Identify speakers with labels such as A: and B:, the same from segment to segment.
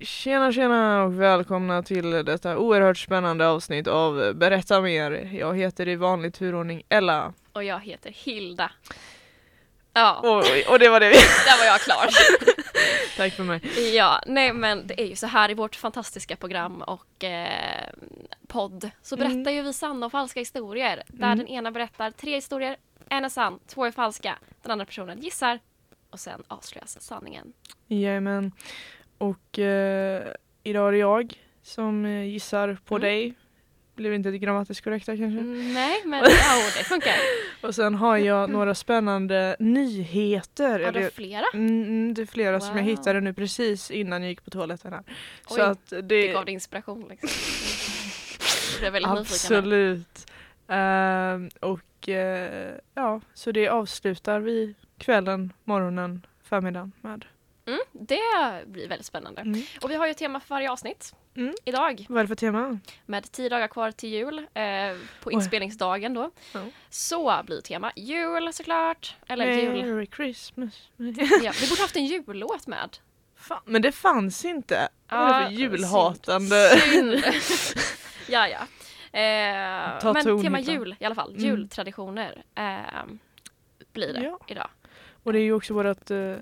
A: Tjena tjena och välkomna till detta oerhört spännande avsnitt av Berätta mer. Jag heter i vanlig turordning Ella.
B: Och jag heter Hilda. Ja,
A: Och, och det var det vi...
B: där var jag klar.
A: Tack för mig.
B: ja, nej men det är ju så här i vårt fantastiska program och eh, podd så berättar ju vi sanna och falska historier. Där den ena berättar tre historier, en är sann, två är falska. Den andra personen gissar och sen avslöjas sanningen.
A: Jajamän. Och eh, idag är det jag som eh, gissar på
B: Mm.
A: dig. Blev inte det grammatiskt korrekta kanske.
B: Nej men ja, det funkar.
A: Och sen har jag några spännande nyheter.
B: Har du
A: Eller-
B: flera?
A: Mm, det är flera som jag
B: Wow.
A: hittade nu precis innan jag gick på toaletten här.
B: Oj,
A: Så att det,
B: Det gav dig inspiration liksom. Jag blev väldigt nyfiken. nu.
A: absolut. Ehm, och eh, ja, så det avslutar vi kvällen, morgonen, förmiddagen med.
B: Mm, det blir väldigt spännande.
A: Mm.
B: Och vi har ju ett tema för varje avsnitt.
A: Mm.
B: Idag,
A: Vad är det för tema?
B: med tio dagar kvar till jul, eh, på
A: Oj.
B: inspelningsdagen då,
A: Ja.
B: så blir tema jul såklart. Eller jul.
A: Merry Christmas.
B: Ja, vi borde haft en jullåt med.
A: Fan, men det fanns inte. Vad är det för
B: Ja,
A: julhatande?
B: Synd. synd. ja, ja. Eh,
A: Ta
B: men
A: ton,
B: tema
A: Hilda.
B: jul i alla fall.
A: Mm.
B: Jultraditioner eh, blir det
A: Ja.
B: idag.
A: Och det är ju också vårt eh,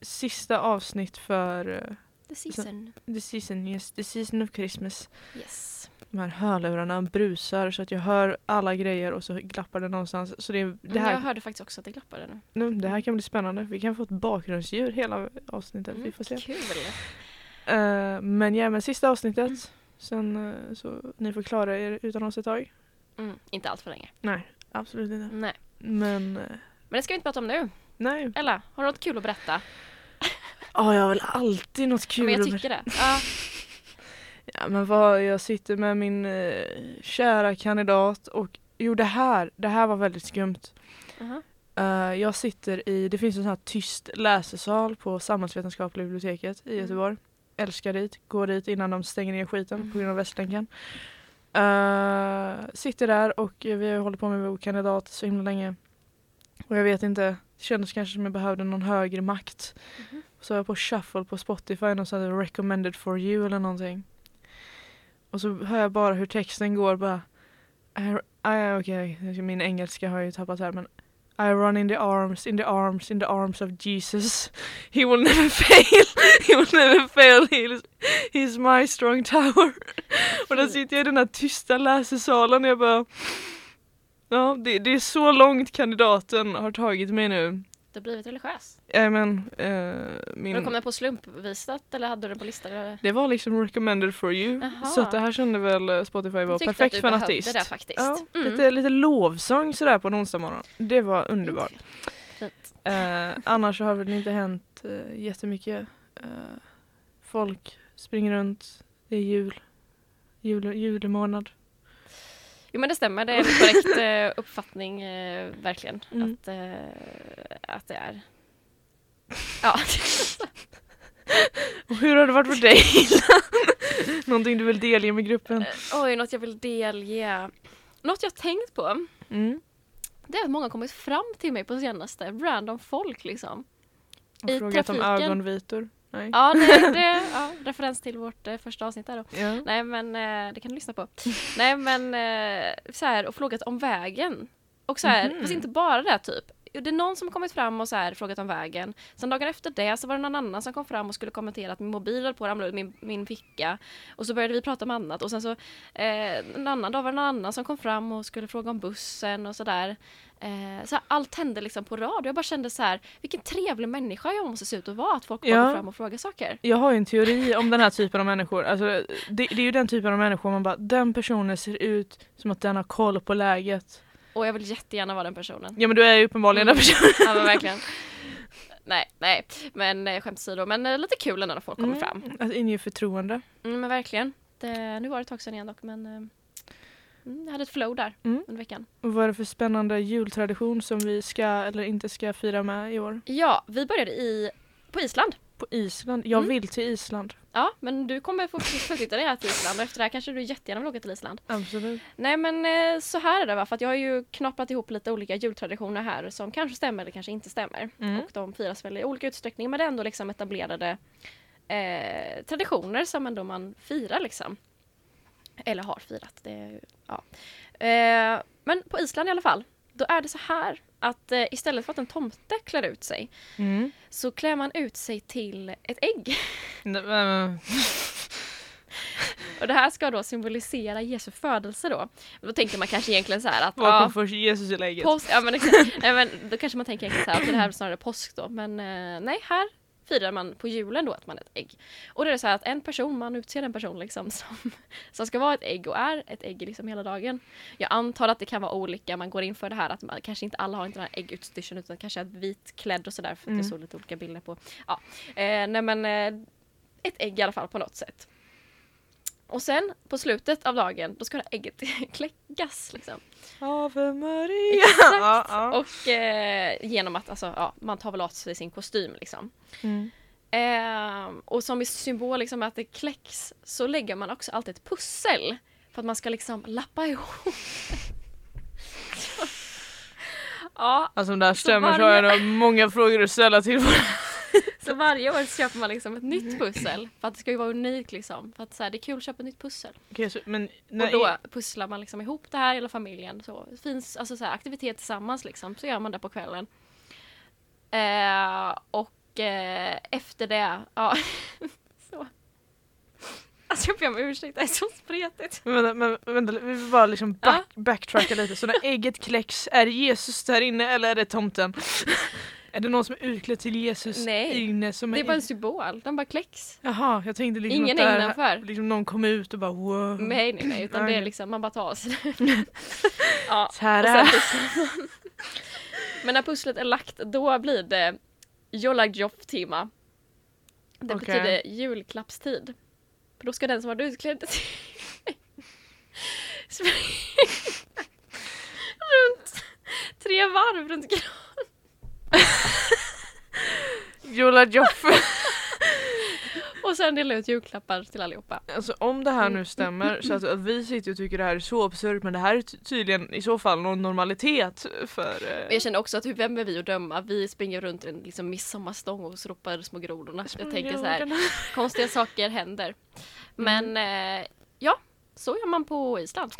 A: sista avsnitt för eh,
B: The season.
A: the, season, yes, the Season of Christmas.
B: Yes.
A: De här hörlurarna brusar så att jag hör alla grejer och så glappar det någonstans. Så det, det,
B: Mm, Jag
A: här,
B: hörde faktiskt också att det glappade nu.
A: nu, det här kan bli spännande. Vi kan få ett bakgrundsdjur hela avsnittet. Vi får se.
B: Mm, Kul.
A: Eh, men ja, men sista avsnittet. Sen eh, så ni får klara er utan oss ett tag.
B: Mm, inte allt för länge.
A: Nej, absolut inte.
B: Nej.
A: Men eh,
B: Men det ska vi inte prata om nu.
A: nej.
B: Ella, har du något kul att berätta?
A: Ja, jag har väl alltid något kul
B: Ja, men jag
A: att
B: tycker det. Ja.
A: Ja men vad, jag sitter med min eh, kära kandidat och jo det här, det här var väldigt skumt.
B: aha.
A: Eh, jag sitter i, det finns en sån här tyst läsesal på Samhällsvetenskapliga biblioteket i
B: Mm.
A: Göteborg. Älskar dit, går dit innan de stänger ner skiten
B: Mm.
A: på grund av Västlänken. Eh, sitter där och vi har hållit på med vår kandidat så himla länge. Och jag vet inte, det kändes kanske som jag behövde någon högre makt.
B: Mhm.
A: Så var jag på shuffle på Spotify och så hade det recommended for you eller någonting. Och så hör jag bara hur texten går bara. I- I- Okej, min engelska har jag ju tappat här men I run in the arms, in the arms, in the arms of Jesus. He will never fail, he will never fail, he is, he is my strong tower. Och
B: Mm.
A: där sitter jag i den här tysta läsesalen och jag bara Ja, det, det är så långt kandidaten har tagit mig nu.
B: Du har blivit religiös.
A: Äh, men, eh,
B: Har du
A: min,
B: kommit på slumpvisat eller hade du det på listan? eller?
A: det var liksom recommended for you.
B: Jaha.
A: Så att det här kände väl eh, Spotify var
B: Jag tyckte
A: perfekt
B: att
A: för
B: du
A: en
B: behövde
A: artist.
B: det faktiskt.
A: Ja,
B: Mm.
A: lite, lite lovsång sådär på en onsdag morgon. Det var underbart.
B: Fint.
A: Eh, annars så har väl inte hänt eh, jättemycket. Eh, folk springer runt, det är jul. jul julemånad.
B: Jo men det stämmer, det är en korrekt eh, uppfattning eh, verkligen.
A: Mm.
B: Att, eh, att det är... Ja.
A: Och hur har det varit för dig Illa? Någonting du vill delge med
B: Eh,
A: gruppen?
B: Oj, något jag vill delge. Något jag tänkt på,
A: Mm.
B: det är att många har kommit fram till mig på senaste. Random folk liksom.
A: Och
B: I
A: frågat om
B: trafiken.
A: ögonvitor? Nej.
B: Ja, nej, det, ja, referens till vårt eh, första avsnitt där då.
A: Ja.
B: Nej men eh, det kan du lyssna på. Nej men eh, så här, och frågat om vägen. Och så här,
A: Mhm.
B: fast inte bara det typ. Det är någon som har kommit fram och så här, frågat om vägen. Sen dagen efter det så var det någon annan som kom fram och skulle kommentera att min mobil höll på att ramla ur min, min ficka. Och så började vi prata om annat och sen så eh, en annan dag var det någon annan som kom fram och skulle fråga om bussen och sådär. Eh, så här, allt hände liksom på rad och jag bara kände så här, vilken trevlig människa jag måste se ut att vara. Att folk
A: Ja.
B: kommer fram och frågar saker.
A: Jag har ju en teori om den här typen av människor. Alltså, det, det är ju den typen av människor man bara, den personen ser ut som att den har koll på läget.
B: Och jag vill jättegärna vara den personen.
A: Ja men du är ju uppenbarligen den personen.
B: Ja men verkligen. nej, nej. Men eh, skämt åsido, men eh, lite kul ändå när folk kommer
A: Mm.
B: fram.
A: Att inge förtroende.
B: Mm, men verkligen. Det, nu var det ett tag sedan igen dock, men eh, mm, jag hade ett flow där
A: Mm.
B: under veckan.
A: Och vad är det för spännande jultradition som vi ska eller inte ska fira med i år?
B: Ja, vi började i, på Island.
A: På Island? Jag
B: Mm.
A: vill till Island.
B: Ja, men du kommer få förflytta dig här till Island och efter det här kanske du jättegärna vill åka till Island.
A: Absolut.
B: Nej men eh, så här är det va, för att jag har ju knaprat ihop lite olika jultraditioner här som kanske stämmer eller kanske inte stämmer.
A: Mm.
B: Och de firas väl i olika utsträckning men det är ändå liksom etablerade eh, traditioner som ändå man firar liksom. Eller har firat. Det, är ju- ja. eh, men på Island i alla fall, då är det så här att eh, istället för att en tomte klär ut sig
A: Mm.
B: så klär man ut sig till ett ägg.
A: Nej, men-
B: Och det här ska då symbolisera Jesu födelse då. Då tänker man kanske egentligen så här att
A: Vad
B: ja,
A: kom först? Jesus eller ägget?
B: Påsk, ja men exakt. Nej men då kanske man tänker exakt så här, att det här är snarare påsk då. Men eh, nej, här firar man på julen då att man är ett ägg. Och då är det så här att en person, man utser en person liksom som, som ska vara ett ägg och är ett ägg liksom hela dagen. Jag antar att det kan vara olika, man går in för det här att man, kanske inte alla har inte den här äggutstyrseln utan kanske är vitklädd och sådär för att
A: Mm.
B: jag såg lite olika bilder på. Ja, eh, nej men eh, ett ägg i alla fall på något sätt. Och sen på slutet av dagen då ska det här ägget kläckas liksom.
A: Ave Maria!
B: Exakt.
A: Ja, ja.
B: Och eh, genom att alltså, ja, man tar väl av sig sin kostym liksom.
A: Mm.
B: Ehm, och som i symbol liksom, att det kläcks så lägger man också alltid ett pussel. För att man ska liksom lappa ihop. ja,
A: Alltså om det här stämmer så har
B: varje-
A: jag nog många frågor att ställa till våra
B: så varje år så köper man liksom ett nytt pussel. För att det ska ju vara unikt liksom. För att så här, det är kul att köpa ett nytt pussel.
A: Okej, så, men
B: och
A: när,
B: då pusslar man liksom ihop det här hela familjen. Så det finns alltså så här, aktivitet tillsammans liksom. Så gör man det på kvällen. Eh, och eh, efter det, ja. så. Alltså jag ber om ursäkt, det är så spretigt.
A: men, vänta, men, vänta, vi vill bara liksom back, backtracka lite. Så när ägget kläcks, är det Jesus där inne eller är det tomten? är det någon som är utklädd till Jesus
B: Nej,
A: inne som
B: Det är bara en
A: ägg?
B: symbol, den bara kläcks.
A: Jaha, jag tänkte liksom att
B: Ingen
A: det
B: är
A: här-
B: innanför.
A: Liksom någon kom ut och bara wow.
B: Nej nej nej, utan det är
A: Mm. Okej.
B: liksom, man bara tar av sig det. ja, och
A: Tara.
B: sen pusslar man. Men när pusslet är lagt, då blir det Jolajof-tema. Det
A: Okej.
B: betyder julklappstid. För då ska den som varit utklädd till springa runt tre varv runt granen.
A: Jola Joff.
B: Och sen dela ut julklappar till allihopa.
A: Alltså om det här
B: Mm.
A: nu stämmer, så att, att vi sitter och tycker det här är så absurt men det här är ty- tydligen i så fall någon normalitet för... eh,
B: Men jag känner också att hur, vem är vi att döma? Vi springer runt i en liksom, midsommarstång och ropar små grodorna. Jag tänker så här, konstiga saker händer. Men eh, ja, så gör man på Island.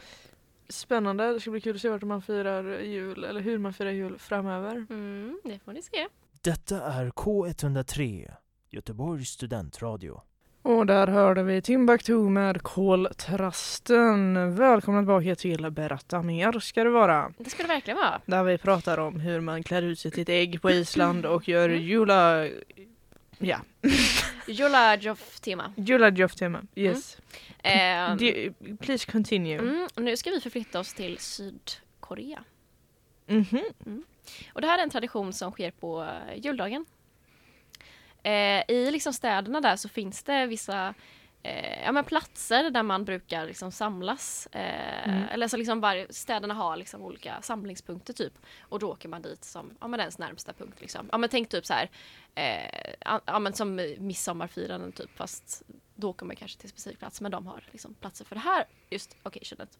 A: Spännande, det ska bli kul att se vart man firar jul eller hur man firar jul framöver.
B: Mm, det får ni se.
C: Detta är K103, Göteborgs studentradio.
A: Och där hörde vi Timbuktu med koltrasten. Välkomna tillbaka till Berätta mer ska det vara.
B: Det ska det verkligen vara.
A: Där vi pratar om hur man klär ut sig till ett ägg på Island och gör jula... Ja,
B: Jolajof-tema.
A: julajofftema. Yes.
B: Eh,
A: Do- please continue.
B: mm, nu ska vi förflytta oss till Sydkorea. Mm.
A: Mhm.
B: Och det här är en tradition som sker på eh, juldagen. Eh, I liksom städerna där så finns det vissa eh, ja, men platser där man brukar liksom samlas. Eh,
A: Mm.
B: Eller så liksom varje, städerna har liksom olika samlingspunkter typ. Och då åker man dit som ja, men ens närmsta punkt. Liksom. Ja, men tänk typ så här, eh, ja, ja, men som eh, midsommarfiranden typ fast då åker man kanske till en specifik plats men de har liksom platser för det här just occasionet.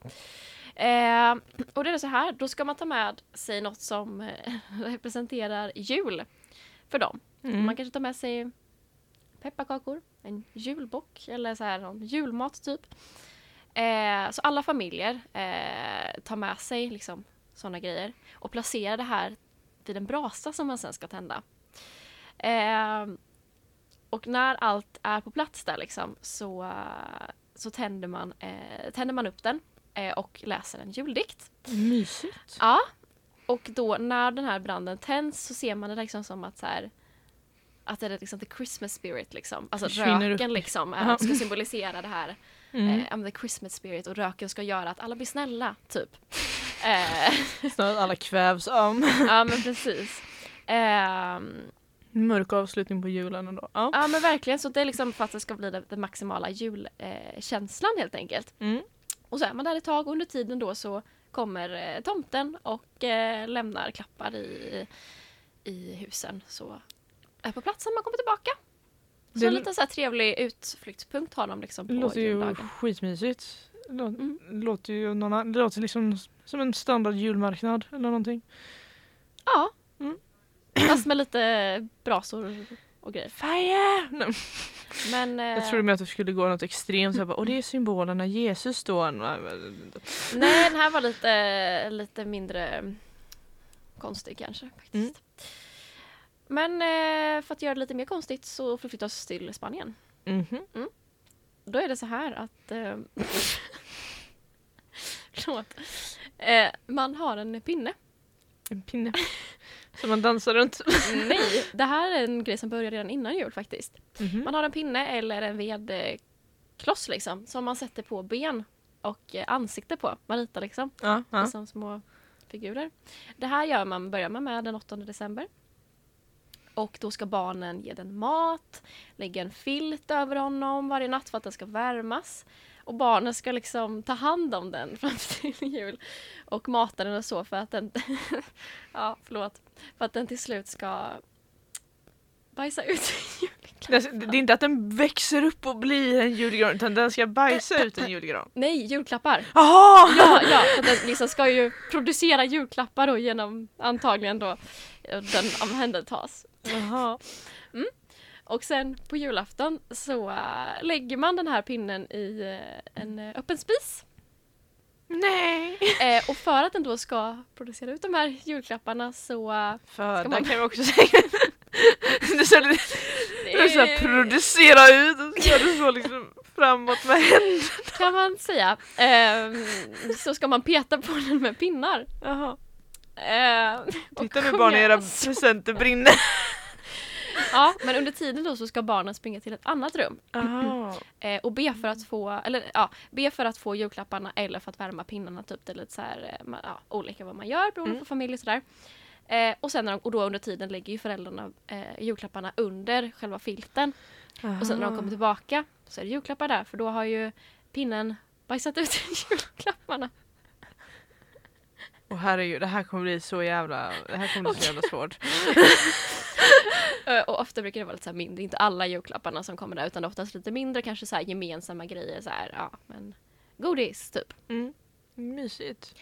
B: Eh, och det är så här, då ska man ta med sig något som eh, representerar jul för dem.
A: Mm.
B: Man kanske tar med sig pepparkakor, en julbock eller så här någon julmat typ. Eh, så alla familjer eh, tar med sig liksom sådana grejer och placerar det här vid en brasa som man sen ska tända. Eh, och när allt är på plats där liksom så, eh, så tänder, man, eh, tänder man upp den eh, och läser en juldikt.
A: Mysigt.
B: Ja. Och då när den här branden tänds så ser man det liksom som att så här att det är liksom the Christmas spirit liksom. Alltså
A: Försvinner
B: röken
A: upp.
B: liksom
A: Ja.
B: är, ska symbolisera det här.
A: Mm.
B: Eh, I'm the Christmas spirit och röken ska göra att alla blir snälla typ. Eh,
A: Snarare att alla kvävs om.
B: ja men precis. Ehm,
A: Mörk avslutning på julen ändå. Ja.
B: Ja men verkligen, så det är liksom för att det ska bli den den maximala julkänslan eh, känslan helt enkelt.
A: Mm.
B: Och så är man där ett tag och under tiden då så kommer eh, tomten och eh, lämnar klappar i, i husen. Så är på plats när man kommer tillbaka. Så
A: Det
B: en
A: l-
B: liten så här trevlig utflyktspunkt har de liksom på
A: Det låter ju
B: juldagen.
A: skitmysigt. Det lå-
B: Mm.
A: låter ju någon annan, det låter liksom som en standard julmarknad eller någonting.
B: Ja.
A: Mm.
B: Fast med lite brasor och grejer.
A: Fire! Nej,
B: Men, eh,
A: jag trodde mer att det skulle gå något extremt. Så jag bara, och det är symbolerna Jesus står. Nej, men-
B: Nej, den här var lite, lite mindre konstig kanske. faktiskt.
A: Mm.
B: Men eh, för att göra det lite mer konstigt så förflyttas oss till Spanien.
A: Mhm.
B: Då är det så här att... Eh, förlåt. Eh, man har en pinne.
A: En pinne. Som man dansar runt.
B: Nej, det här är en grej som börjar redan innan jul faktiskt.
A: Mhm.
B: Man har en pinne eller en vedkloss liksom som man sätter på ben och eh, ansikte på. Man ritar liksom.
A: Ja, ja.
B: som små figurer. Det här gör man, börjar man med den 8 december. Och då ska barnen ge den mat, lägga en filt över honom varje natt för att den ska värmas. Och barnen ska liksom ta hand om den fram till jul och mata den och så för att den, ja förlåt, för att den till slut ska bajsa ut julklappen.
A: Alltså, Det, är- det är inte att den växer upp och blir en julgran utan den ska bajsa ut en julgran.
B: Nej, julklappar!
A: Jaha!
B: Ja, ja för den liksom ska ju producera julklappar då genom antagligen då eh, den omhändertas.
A: Jaha.
B: Och sen på julafton så eh, lägger man den här pinnen i eh, en eh, öppen spis.
A: Nej!
B: Eh, och för att den då ska producera ut de här julklapparna så... eh,
A: Föda
B: Ska man-
A: kan jag också säga. Det är så lite
B: det
A: Det är såhär producera ut och så gör du så liksom framåt med händerna.
B: kan man säga. Ehm, så ska man peta på den med pinnar.
A: Jaha.
B: Ehm, och
A: Titta nu
B: sjunga
A: barn, era
B: så-
A: presenter brinner.
B: Ja, men under tiden då så ska barnen springa till ett annat rum.
A: Jaha.
B: Eh, och be för att få, eller ja, be för att få julklapparna eller för att värma pinnarna. Typ. Det är lite så här, eh, man, ja, olika vad man gör beroende
A: Mm.
B: på familj och sådär. Eh, och, sen när de, och då under tiden lägger ju föräldrarna eh, julklapparna under själva filten. Och sen när de kommer tillbaka så är det julklappar där för då har ju pinnen bajsat ut julklapparna.
A: Och herregud, det här kommer bli så jävla, det här kommer bli så jävla svårt.
B: Eh, och ofta brukar det vara lite så här mindre, inte alla julklapparna som kommer där utan det är oftast lite mindre, kanske så här gemensamma grejer. Så här, ja, men godis typ.
A: Mm. Mysigt.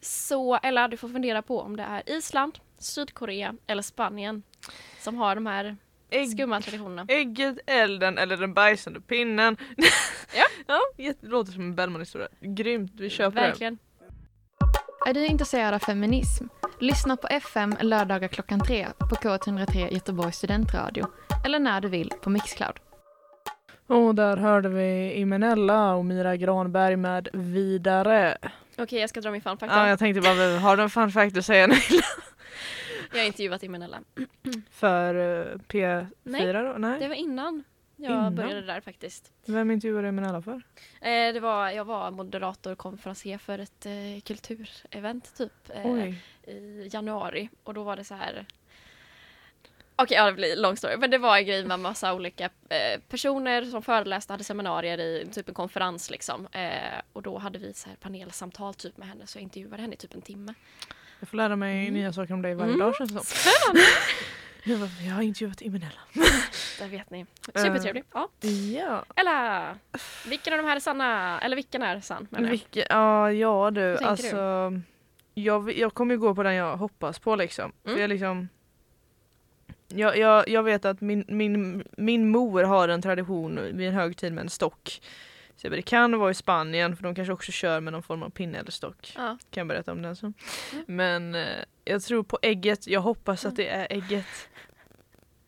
B: Så Ella, du får fundera på om det är Island, Sydkorea eller Spanien som har de här
A: Ägg,
B: skumma traditionerna.
A: ägget, elden eller den bajsande pinnen.
B: Ja.
A: ja jätte- det låter som en Bellman-historia. Grymt, vi köper det.
B: Verkligen.
D: Är du intresserad av feminism? Lyssna på FM lördagar klockan tre på K103 Göteborgs studentradio eller när du vill på Mixcloud.
A: Och där hörde vi Imenella och Mira Granberg med Vidare.
B: Okej, jag ska dra min fun fact.
A: Ja, jag tänkte bara, har du en fun fact att säga nu?
B: Jag har intervjuat Imenella.
A: För eh, P4
B: Nej,
A: då? Nej.
B: Det var innan jag
A: Innan?
B: började där faktiskt.
A: Vem intervjuade Imenella för?
B: Eh, det var, jag var moderator och konferencier för ett eh, kulturevent typ eh,
A: Oj.
B: i januari och då var det så här Okej, ja, det blir lång story. Men det var en grej med massa olika eh, personer som föreläste, hade seminarier i typ en konferens liksom. Eh, och då hade vi så här panelsamtal typ med henne, så jag intervjuade henne i typ en timme.
A: Jag får lära mig
B: Mm.
A: nya saker om dig varje
B: Mm.
A: dag känns det som.
B: Spännande!
A: Jag bara, Jag har intervjuat Imenella.
B: Där vet ni. Supertrevlig. Ja.
A: Ja.
B: Eller, vilken av de här är sanna? Eller vilken är sann? menar jag.
A: Vilke, ja, ja du,
B: Vad tänker
A: alltså. Jag, vi- jag kommer ju gå på den jag hoppas på liksom. För
B: Mm.
A: jag liksom jag, jag, jag vet att min, min, min mor har en tradition vid en högtid med en stock. Så jag bara, det kan vara i Spanien för de kanske också kör med någon form av pinne eller stock.
B: Ja. Mm.
A: Kan jag berätta om den sen. Men eh, jag tror på ägget, jag hoppas att det är ägget.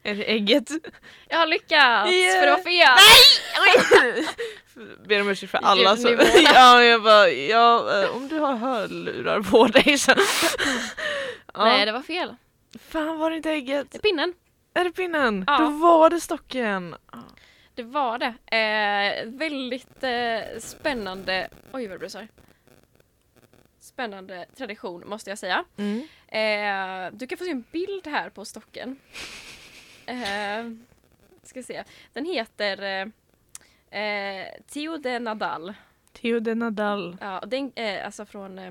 A: Är det ägget?
B: Jag har lyckats!
A: Yeah.
B: För det var fel! Nej!
A: Ber om ursäkt för alla som...
B: Ljudnivåerna.
A: ja, jag bara, ja, eh, om du har hörlurar på dig sen. ja.
B: Nej, det var fel.
A: Fan var det inte ägget?
B: Det är pinnen.
A: Är det pinnen?
B: Ja.
A: Då var det stocken!
B: Det var det. Eh, väldigt eh, spännande, oj vad det brusar. Spännande tradition måste jag säga.
A: Mm.
B: Eh, du kan få se en bild här på stocken. Eh, ska se. Den heter eh, eh, Tio de Nadal.
A: Theo de Nadal.
B: Ja, och den, eh, alltså från eh,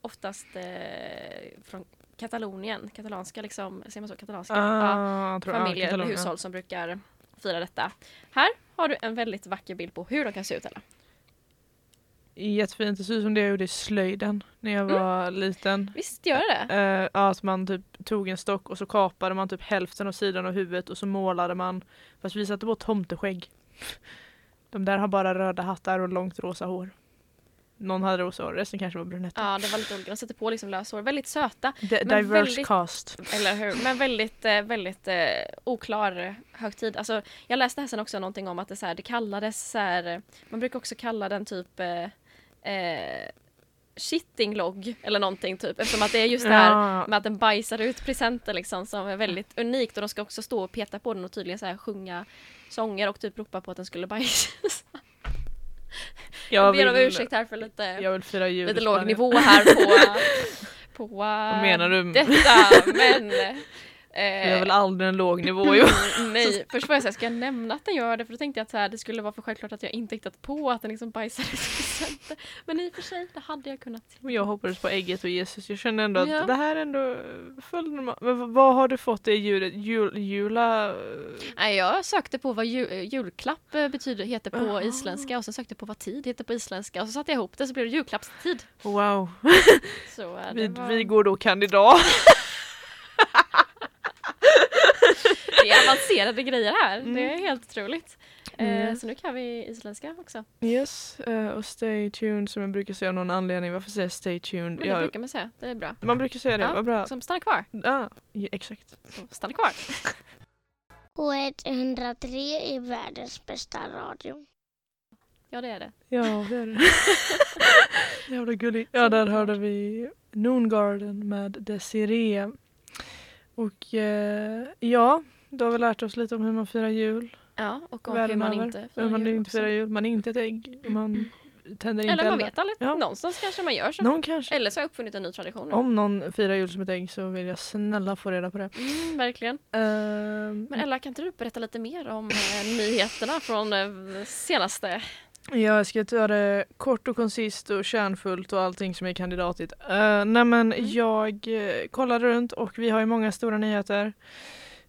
B: oftast eh, från Katalonien, katalanska liksom, säger man så? Katalanska? Ja,
A: Ah, jag tror- ah,
B: familjer och
A: Katalonien.
B: hushåll som brukar fira detta. Här har du en väldigt vacker bild på hur de kan se ut. Ella.
A: Jättefint, det ser ut som det jag gjorde i slöjden när jag
B: Mm.
A: var liten.
B: Visst gör det?
A: Eh, ja, att man typ tog en stock och så kapade man typ hälften av sidan av huvudet och så målade man. Fast vi satte på tomteskägg. De där har bara röda hattar och långt rosa hår. Någon hade rosa hår, resten kanske var brunetter.
B: Ja, det var lite olika. De sätter på liksom löshår. Väldigt söta,
A: D-
B: men
A: diverse
B: väldigt-
A: cast.
B: eller hur? Men väldigt, eh, väldigt eh, oklar högtid. Alltså, jag läste här sen också någonting om att det, så här, det kallades så här, man brukar också kalla den typ eh, eh, shitting log eller någonting typ eftersom att det är just det här
A: Ja.
B: med att den bajsar ut presenter liksom som är väldigt unikt och de ska också stå och peta på den och tydligen så här sjunga sånger och typ ropa på att den skulle bajsas. Jag, ber om
A: vill-
B: ursäkt här för lite
A: Jag vill fira jul. i
B: lite låg
A: Spanien.
B: nivå här på, på
A: Vad menar du?
B: detta men
A: Jag
B: eh,
A: vill aldrig en låg nivå ju.
B: nej, först var jag såhär, ska jag nämna att den gör det? För då tänkte jag att så här, det skulle vara för självklart att jag inte hittat på att den liksom bajsade i presenter. Men i och för sig, det hade jag kunnat.
A: Men Jag hoppades på ägget och Jesus. Jag känner ändå att
B: Ja.
A: det här ändå föll normalt. Men v- vad har du fått i julet? Jul, jula?
B: Nej, jag sökte på vad ju, eh, julklapp eh, betyder, heter på
A: Aha.
B: isländska och sen sökte jag på vad tid heter på isländska och så satte jag ihop det så blev det julklappstid.
A: Wow.
B: Så, eh,
A: Vi,
B: det var-
A: vi går då kandidat.
B: Det är avancerade grejer här. Det är
A: Mm.
B: helt otroligt. Eh,
A: Mm.
B: så nu kan vi isländska också.
A: Yes, eh, och stay tuned som jag brukar säga av någon anledning. Varför säger jag stay tuned?
B: Men det
A: Jag-
B: brukar man säga. Det är bra.
A: Man brukar säga det,
B: Ja,
A: vad bra.
B: Som stannar kvar.
A: Ja, ja, exakt.
B: Så stanna kvar.
E: K103 är världens bästa radio.
B: Ja, det är det.
A: Ja, det är det. Jävla gullig. Ja, där hörde vi Noongarden med Desiree. Och eh, ja, då har vi lärt oss lite om hur man firar jul.
B: Ja, och om hur
A: världen
B: man
A: över.
B: inte
A: Hur man inte
B: också.
A: firar jul. Man är inte ett ägg. Man tänder inte
B: Eller man
A: eldar.
B: vet aldrig.
A: Ja.
B: Någonstans kanske man gör så.
A: Någon kanske.
B: Eller så har jag uppfunnit en ny tradition. nu.
A: Om någon firar jul som ett ägg så vill jag snälla få reda på det.
B: Mm, verkligen.
A: Ehm,
B: Men Ella, kan inte du berätta lite mer om eh, nyheterna från eh, senaste?
A: Ja, jag ska ta det kort och koncist och kärnfullt och allting som är kandidatigt. Uh, nej men jag eh, kollade runt och vi har ju många stora nyheter.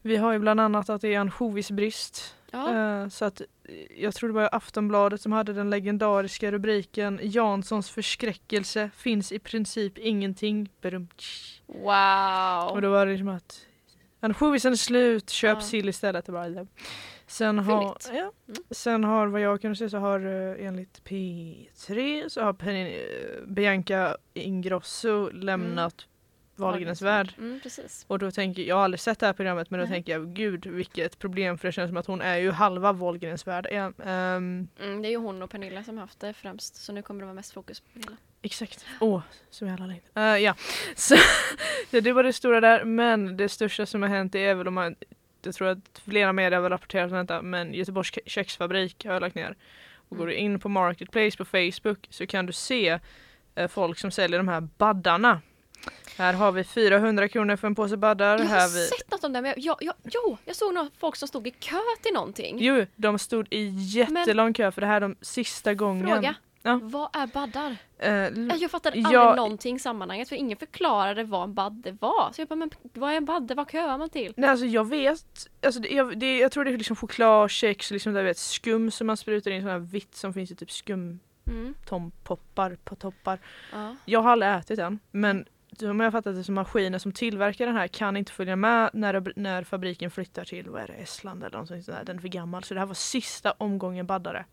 A: Vi har ju bland annat att det är ansjovisbrist.
B: Ja,
A: Eh, så att eh, jag tror det var Aftonbladet som hade den legendariska rubriken Janssons förskräckelse finns i princip ingenting. Berumt. Och
B: wow.
A: då var det som att ansjovisen är slut, köp
B: Ja.
A: sill istället. Och bara, ja. Sen har,
B: Fyndigt.
A: ja.
B: Mm.
A: Sen har vad jag kunde se så har eh, enligt P3 så har Pen- eh, Bianca Ingrosso lämnat Wahlgrens värld.
B: Mm, precis.
A: Och då tänker jag, jag har aldrig sett det här programmet men då
B: Nej.
A: tänker jag gud vilket problem för det känns som att hon är ju halva Wahlgrens värld. Ja, ehm,
B: Mm, det är ju hon och Pernilla som har haft det främst. Så nu kommer det vara mest fokus på Pernilla.
A: Exakt. Åh, som jävla längd. Eh, ja, så ja, det var det stora där. Men det största som har hänt är väl om man, jag tror att flera medier har väl rapporterat om detta, men Göteborgs ke- kexfabrik har lagt ner. Och går du
B: Mm.
A: in på Marketplace på Facebook så kan du se eh, folk som säljer de här baddarna. Här har vi 400 kronor för en påse baddar.
B: Jag
A: här
B: har
A: vi...
B: sett något om det, men jag, jag, jag, jo, jag såg några folk som stod i kö till någonting.
A: Jo, de stod i jättelång kö för det här är de sista gången.
B: Fråga.
A: Ja.
B: Vad är baddar?
A: Eh,
B: Nej, Jag fattade
A: Ja.
B: aldrig någonting i sammanhanget för ingen förklarade vad en badde var. Så jag bara, men vad är en badde? Vad köar man till?
A: Nej alltså jag vet, alltså det, jag, det, jag tror det är liksom choklad, kex, liksom där, vet, skum som man sprutar in, sån här vitt som finns i typ
B: Mm.
A: skumtompoppar på toppar.
B: Ja.
A: Jag har aldrig ätit den men som jag har fattat det som maskiner som tillverkar den här kan inte följa med när, det- när fabriken flyttar till, vad är det, Estland eller någonting sånt där, den är för gammal. Så det här var sista omgången baddare.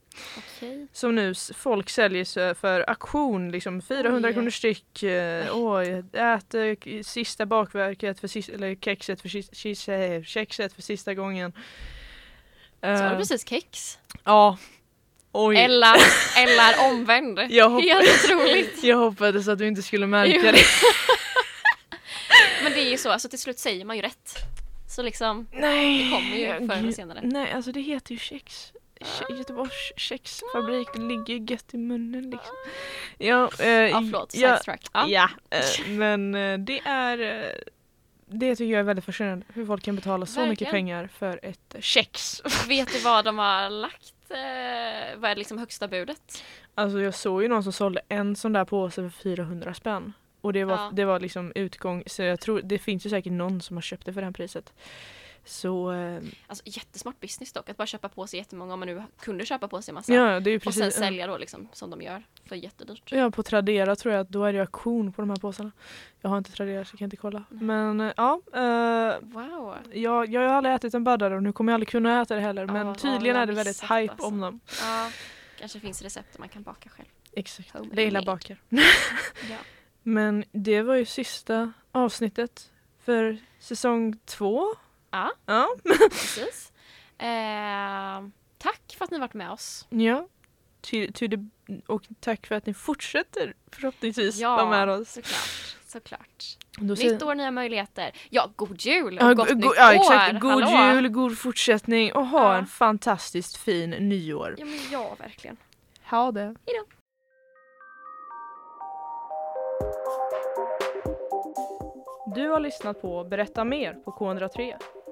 B: Okej.
A: Som nu s- folk säljer sig för auktion, liksom 400
B: Oj.
A: kronor styck. eh, Oj, ät eh, k- sista bakverket, för sista, eller kexet för, sis- kis- eh, kexet för sista gången.
B: Sa
A: Eh,
B: du precis kex?
A: Ja. Oj.
B: Eller, eller omvänd.
A: Jag hopp-
B: Helt otroligt.
A: Jag hoppades att du inte skulle märka
B: Jo.
A: det.
B: Men det är ju så, alltså till slut säger man ju rätt. Så liksom,
A: Nej.
B: det kommer ju förr eller senare.
A: Nej, alltså det heter ju kex. Ke- Göteborgs kexfabrik, det ligger ju gött i munnen liksom. Ah. Ja, eh,
B: Ja, förlåt.
A: ja,
B: Sidetrack. Ja.
A: Ja, eh, men eh, det är eh, det tycker jag är väldigt fascinerande. Hur folk kan betala så mycket
B: Verkligen.
A: pengar för ett eh, kex.
B: Vet du vad de har lagt? Eh, vad är liksom högsta budet?
A: Alltså jag såg ju någon som sålde en sån där påse för 400 spänn. Och det var,
B: Ja.
A: det var liksom utgång, så jag tror det finns ju säkert någon som har köpt det för det här priset. Så eh,
B: Alltså jättesmart business dock, att bara köpa på sig jättemånga om man nu kunde köpa på sig massa.
A: ja, det är ju
B: och
A: precis. eh,
B: sen sälja då liksom som de gör för jättedyrt.
A: Ja, på Tradera tror jag att då är det auktion på de här påsarna. Jag har inte Tradera så jag kan inte kolla. Men eh, ja, eh,
B: Wow!
A: jag, jag har aldrig ätit en baddare och nu kommer jag aldrig kunna äta det heller.
B: Ja,
A: Men
B: vad
A: tydligen
B: har
A: är det
B: jag
A: väldigt
B: missat,
A: hype
B: alltså.
A: om dem.
B: Ja, kanske finns recept där man kan baka själv.
A: Exakt,
B: Homemade.
A: det gillar bakar.
B: Ja.
A: Men det var ju sista avsnittet för säsong två.
B: Ja.
A: Ja.
B: Precis. Eh, tack för att ni har varit med oss.
A: ja. Till, till det, och tack för att ni fortsätter förhoppningsvis
B: Ja.
A: vara med oss.
B: Såklart. Såklart.
A: Då säger-
B: Nytt år, nya möjligheter. Ja, god jul och
A: Ja,
B: gott
A: go-
B: nytt
A: go-
B: år!
A: ja, exakt. God
B: Hallå.
A: jul, god fortsättning och ha
B: Ja.
A: en fantastiskt fin nyår.
B: Ja, men ja, verkligen.
D: Ha det.
A: Du har lyssnat på Berätta mer på K103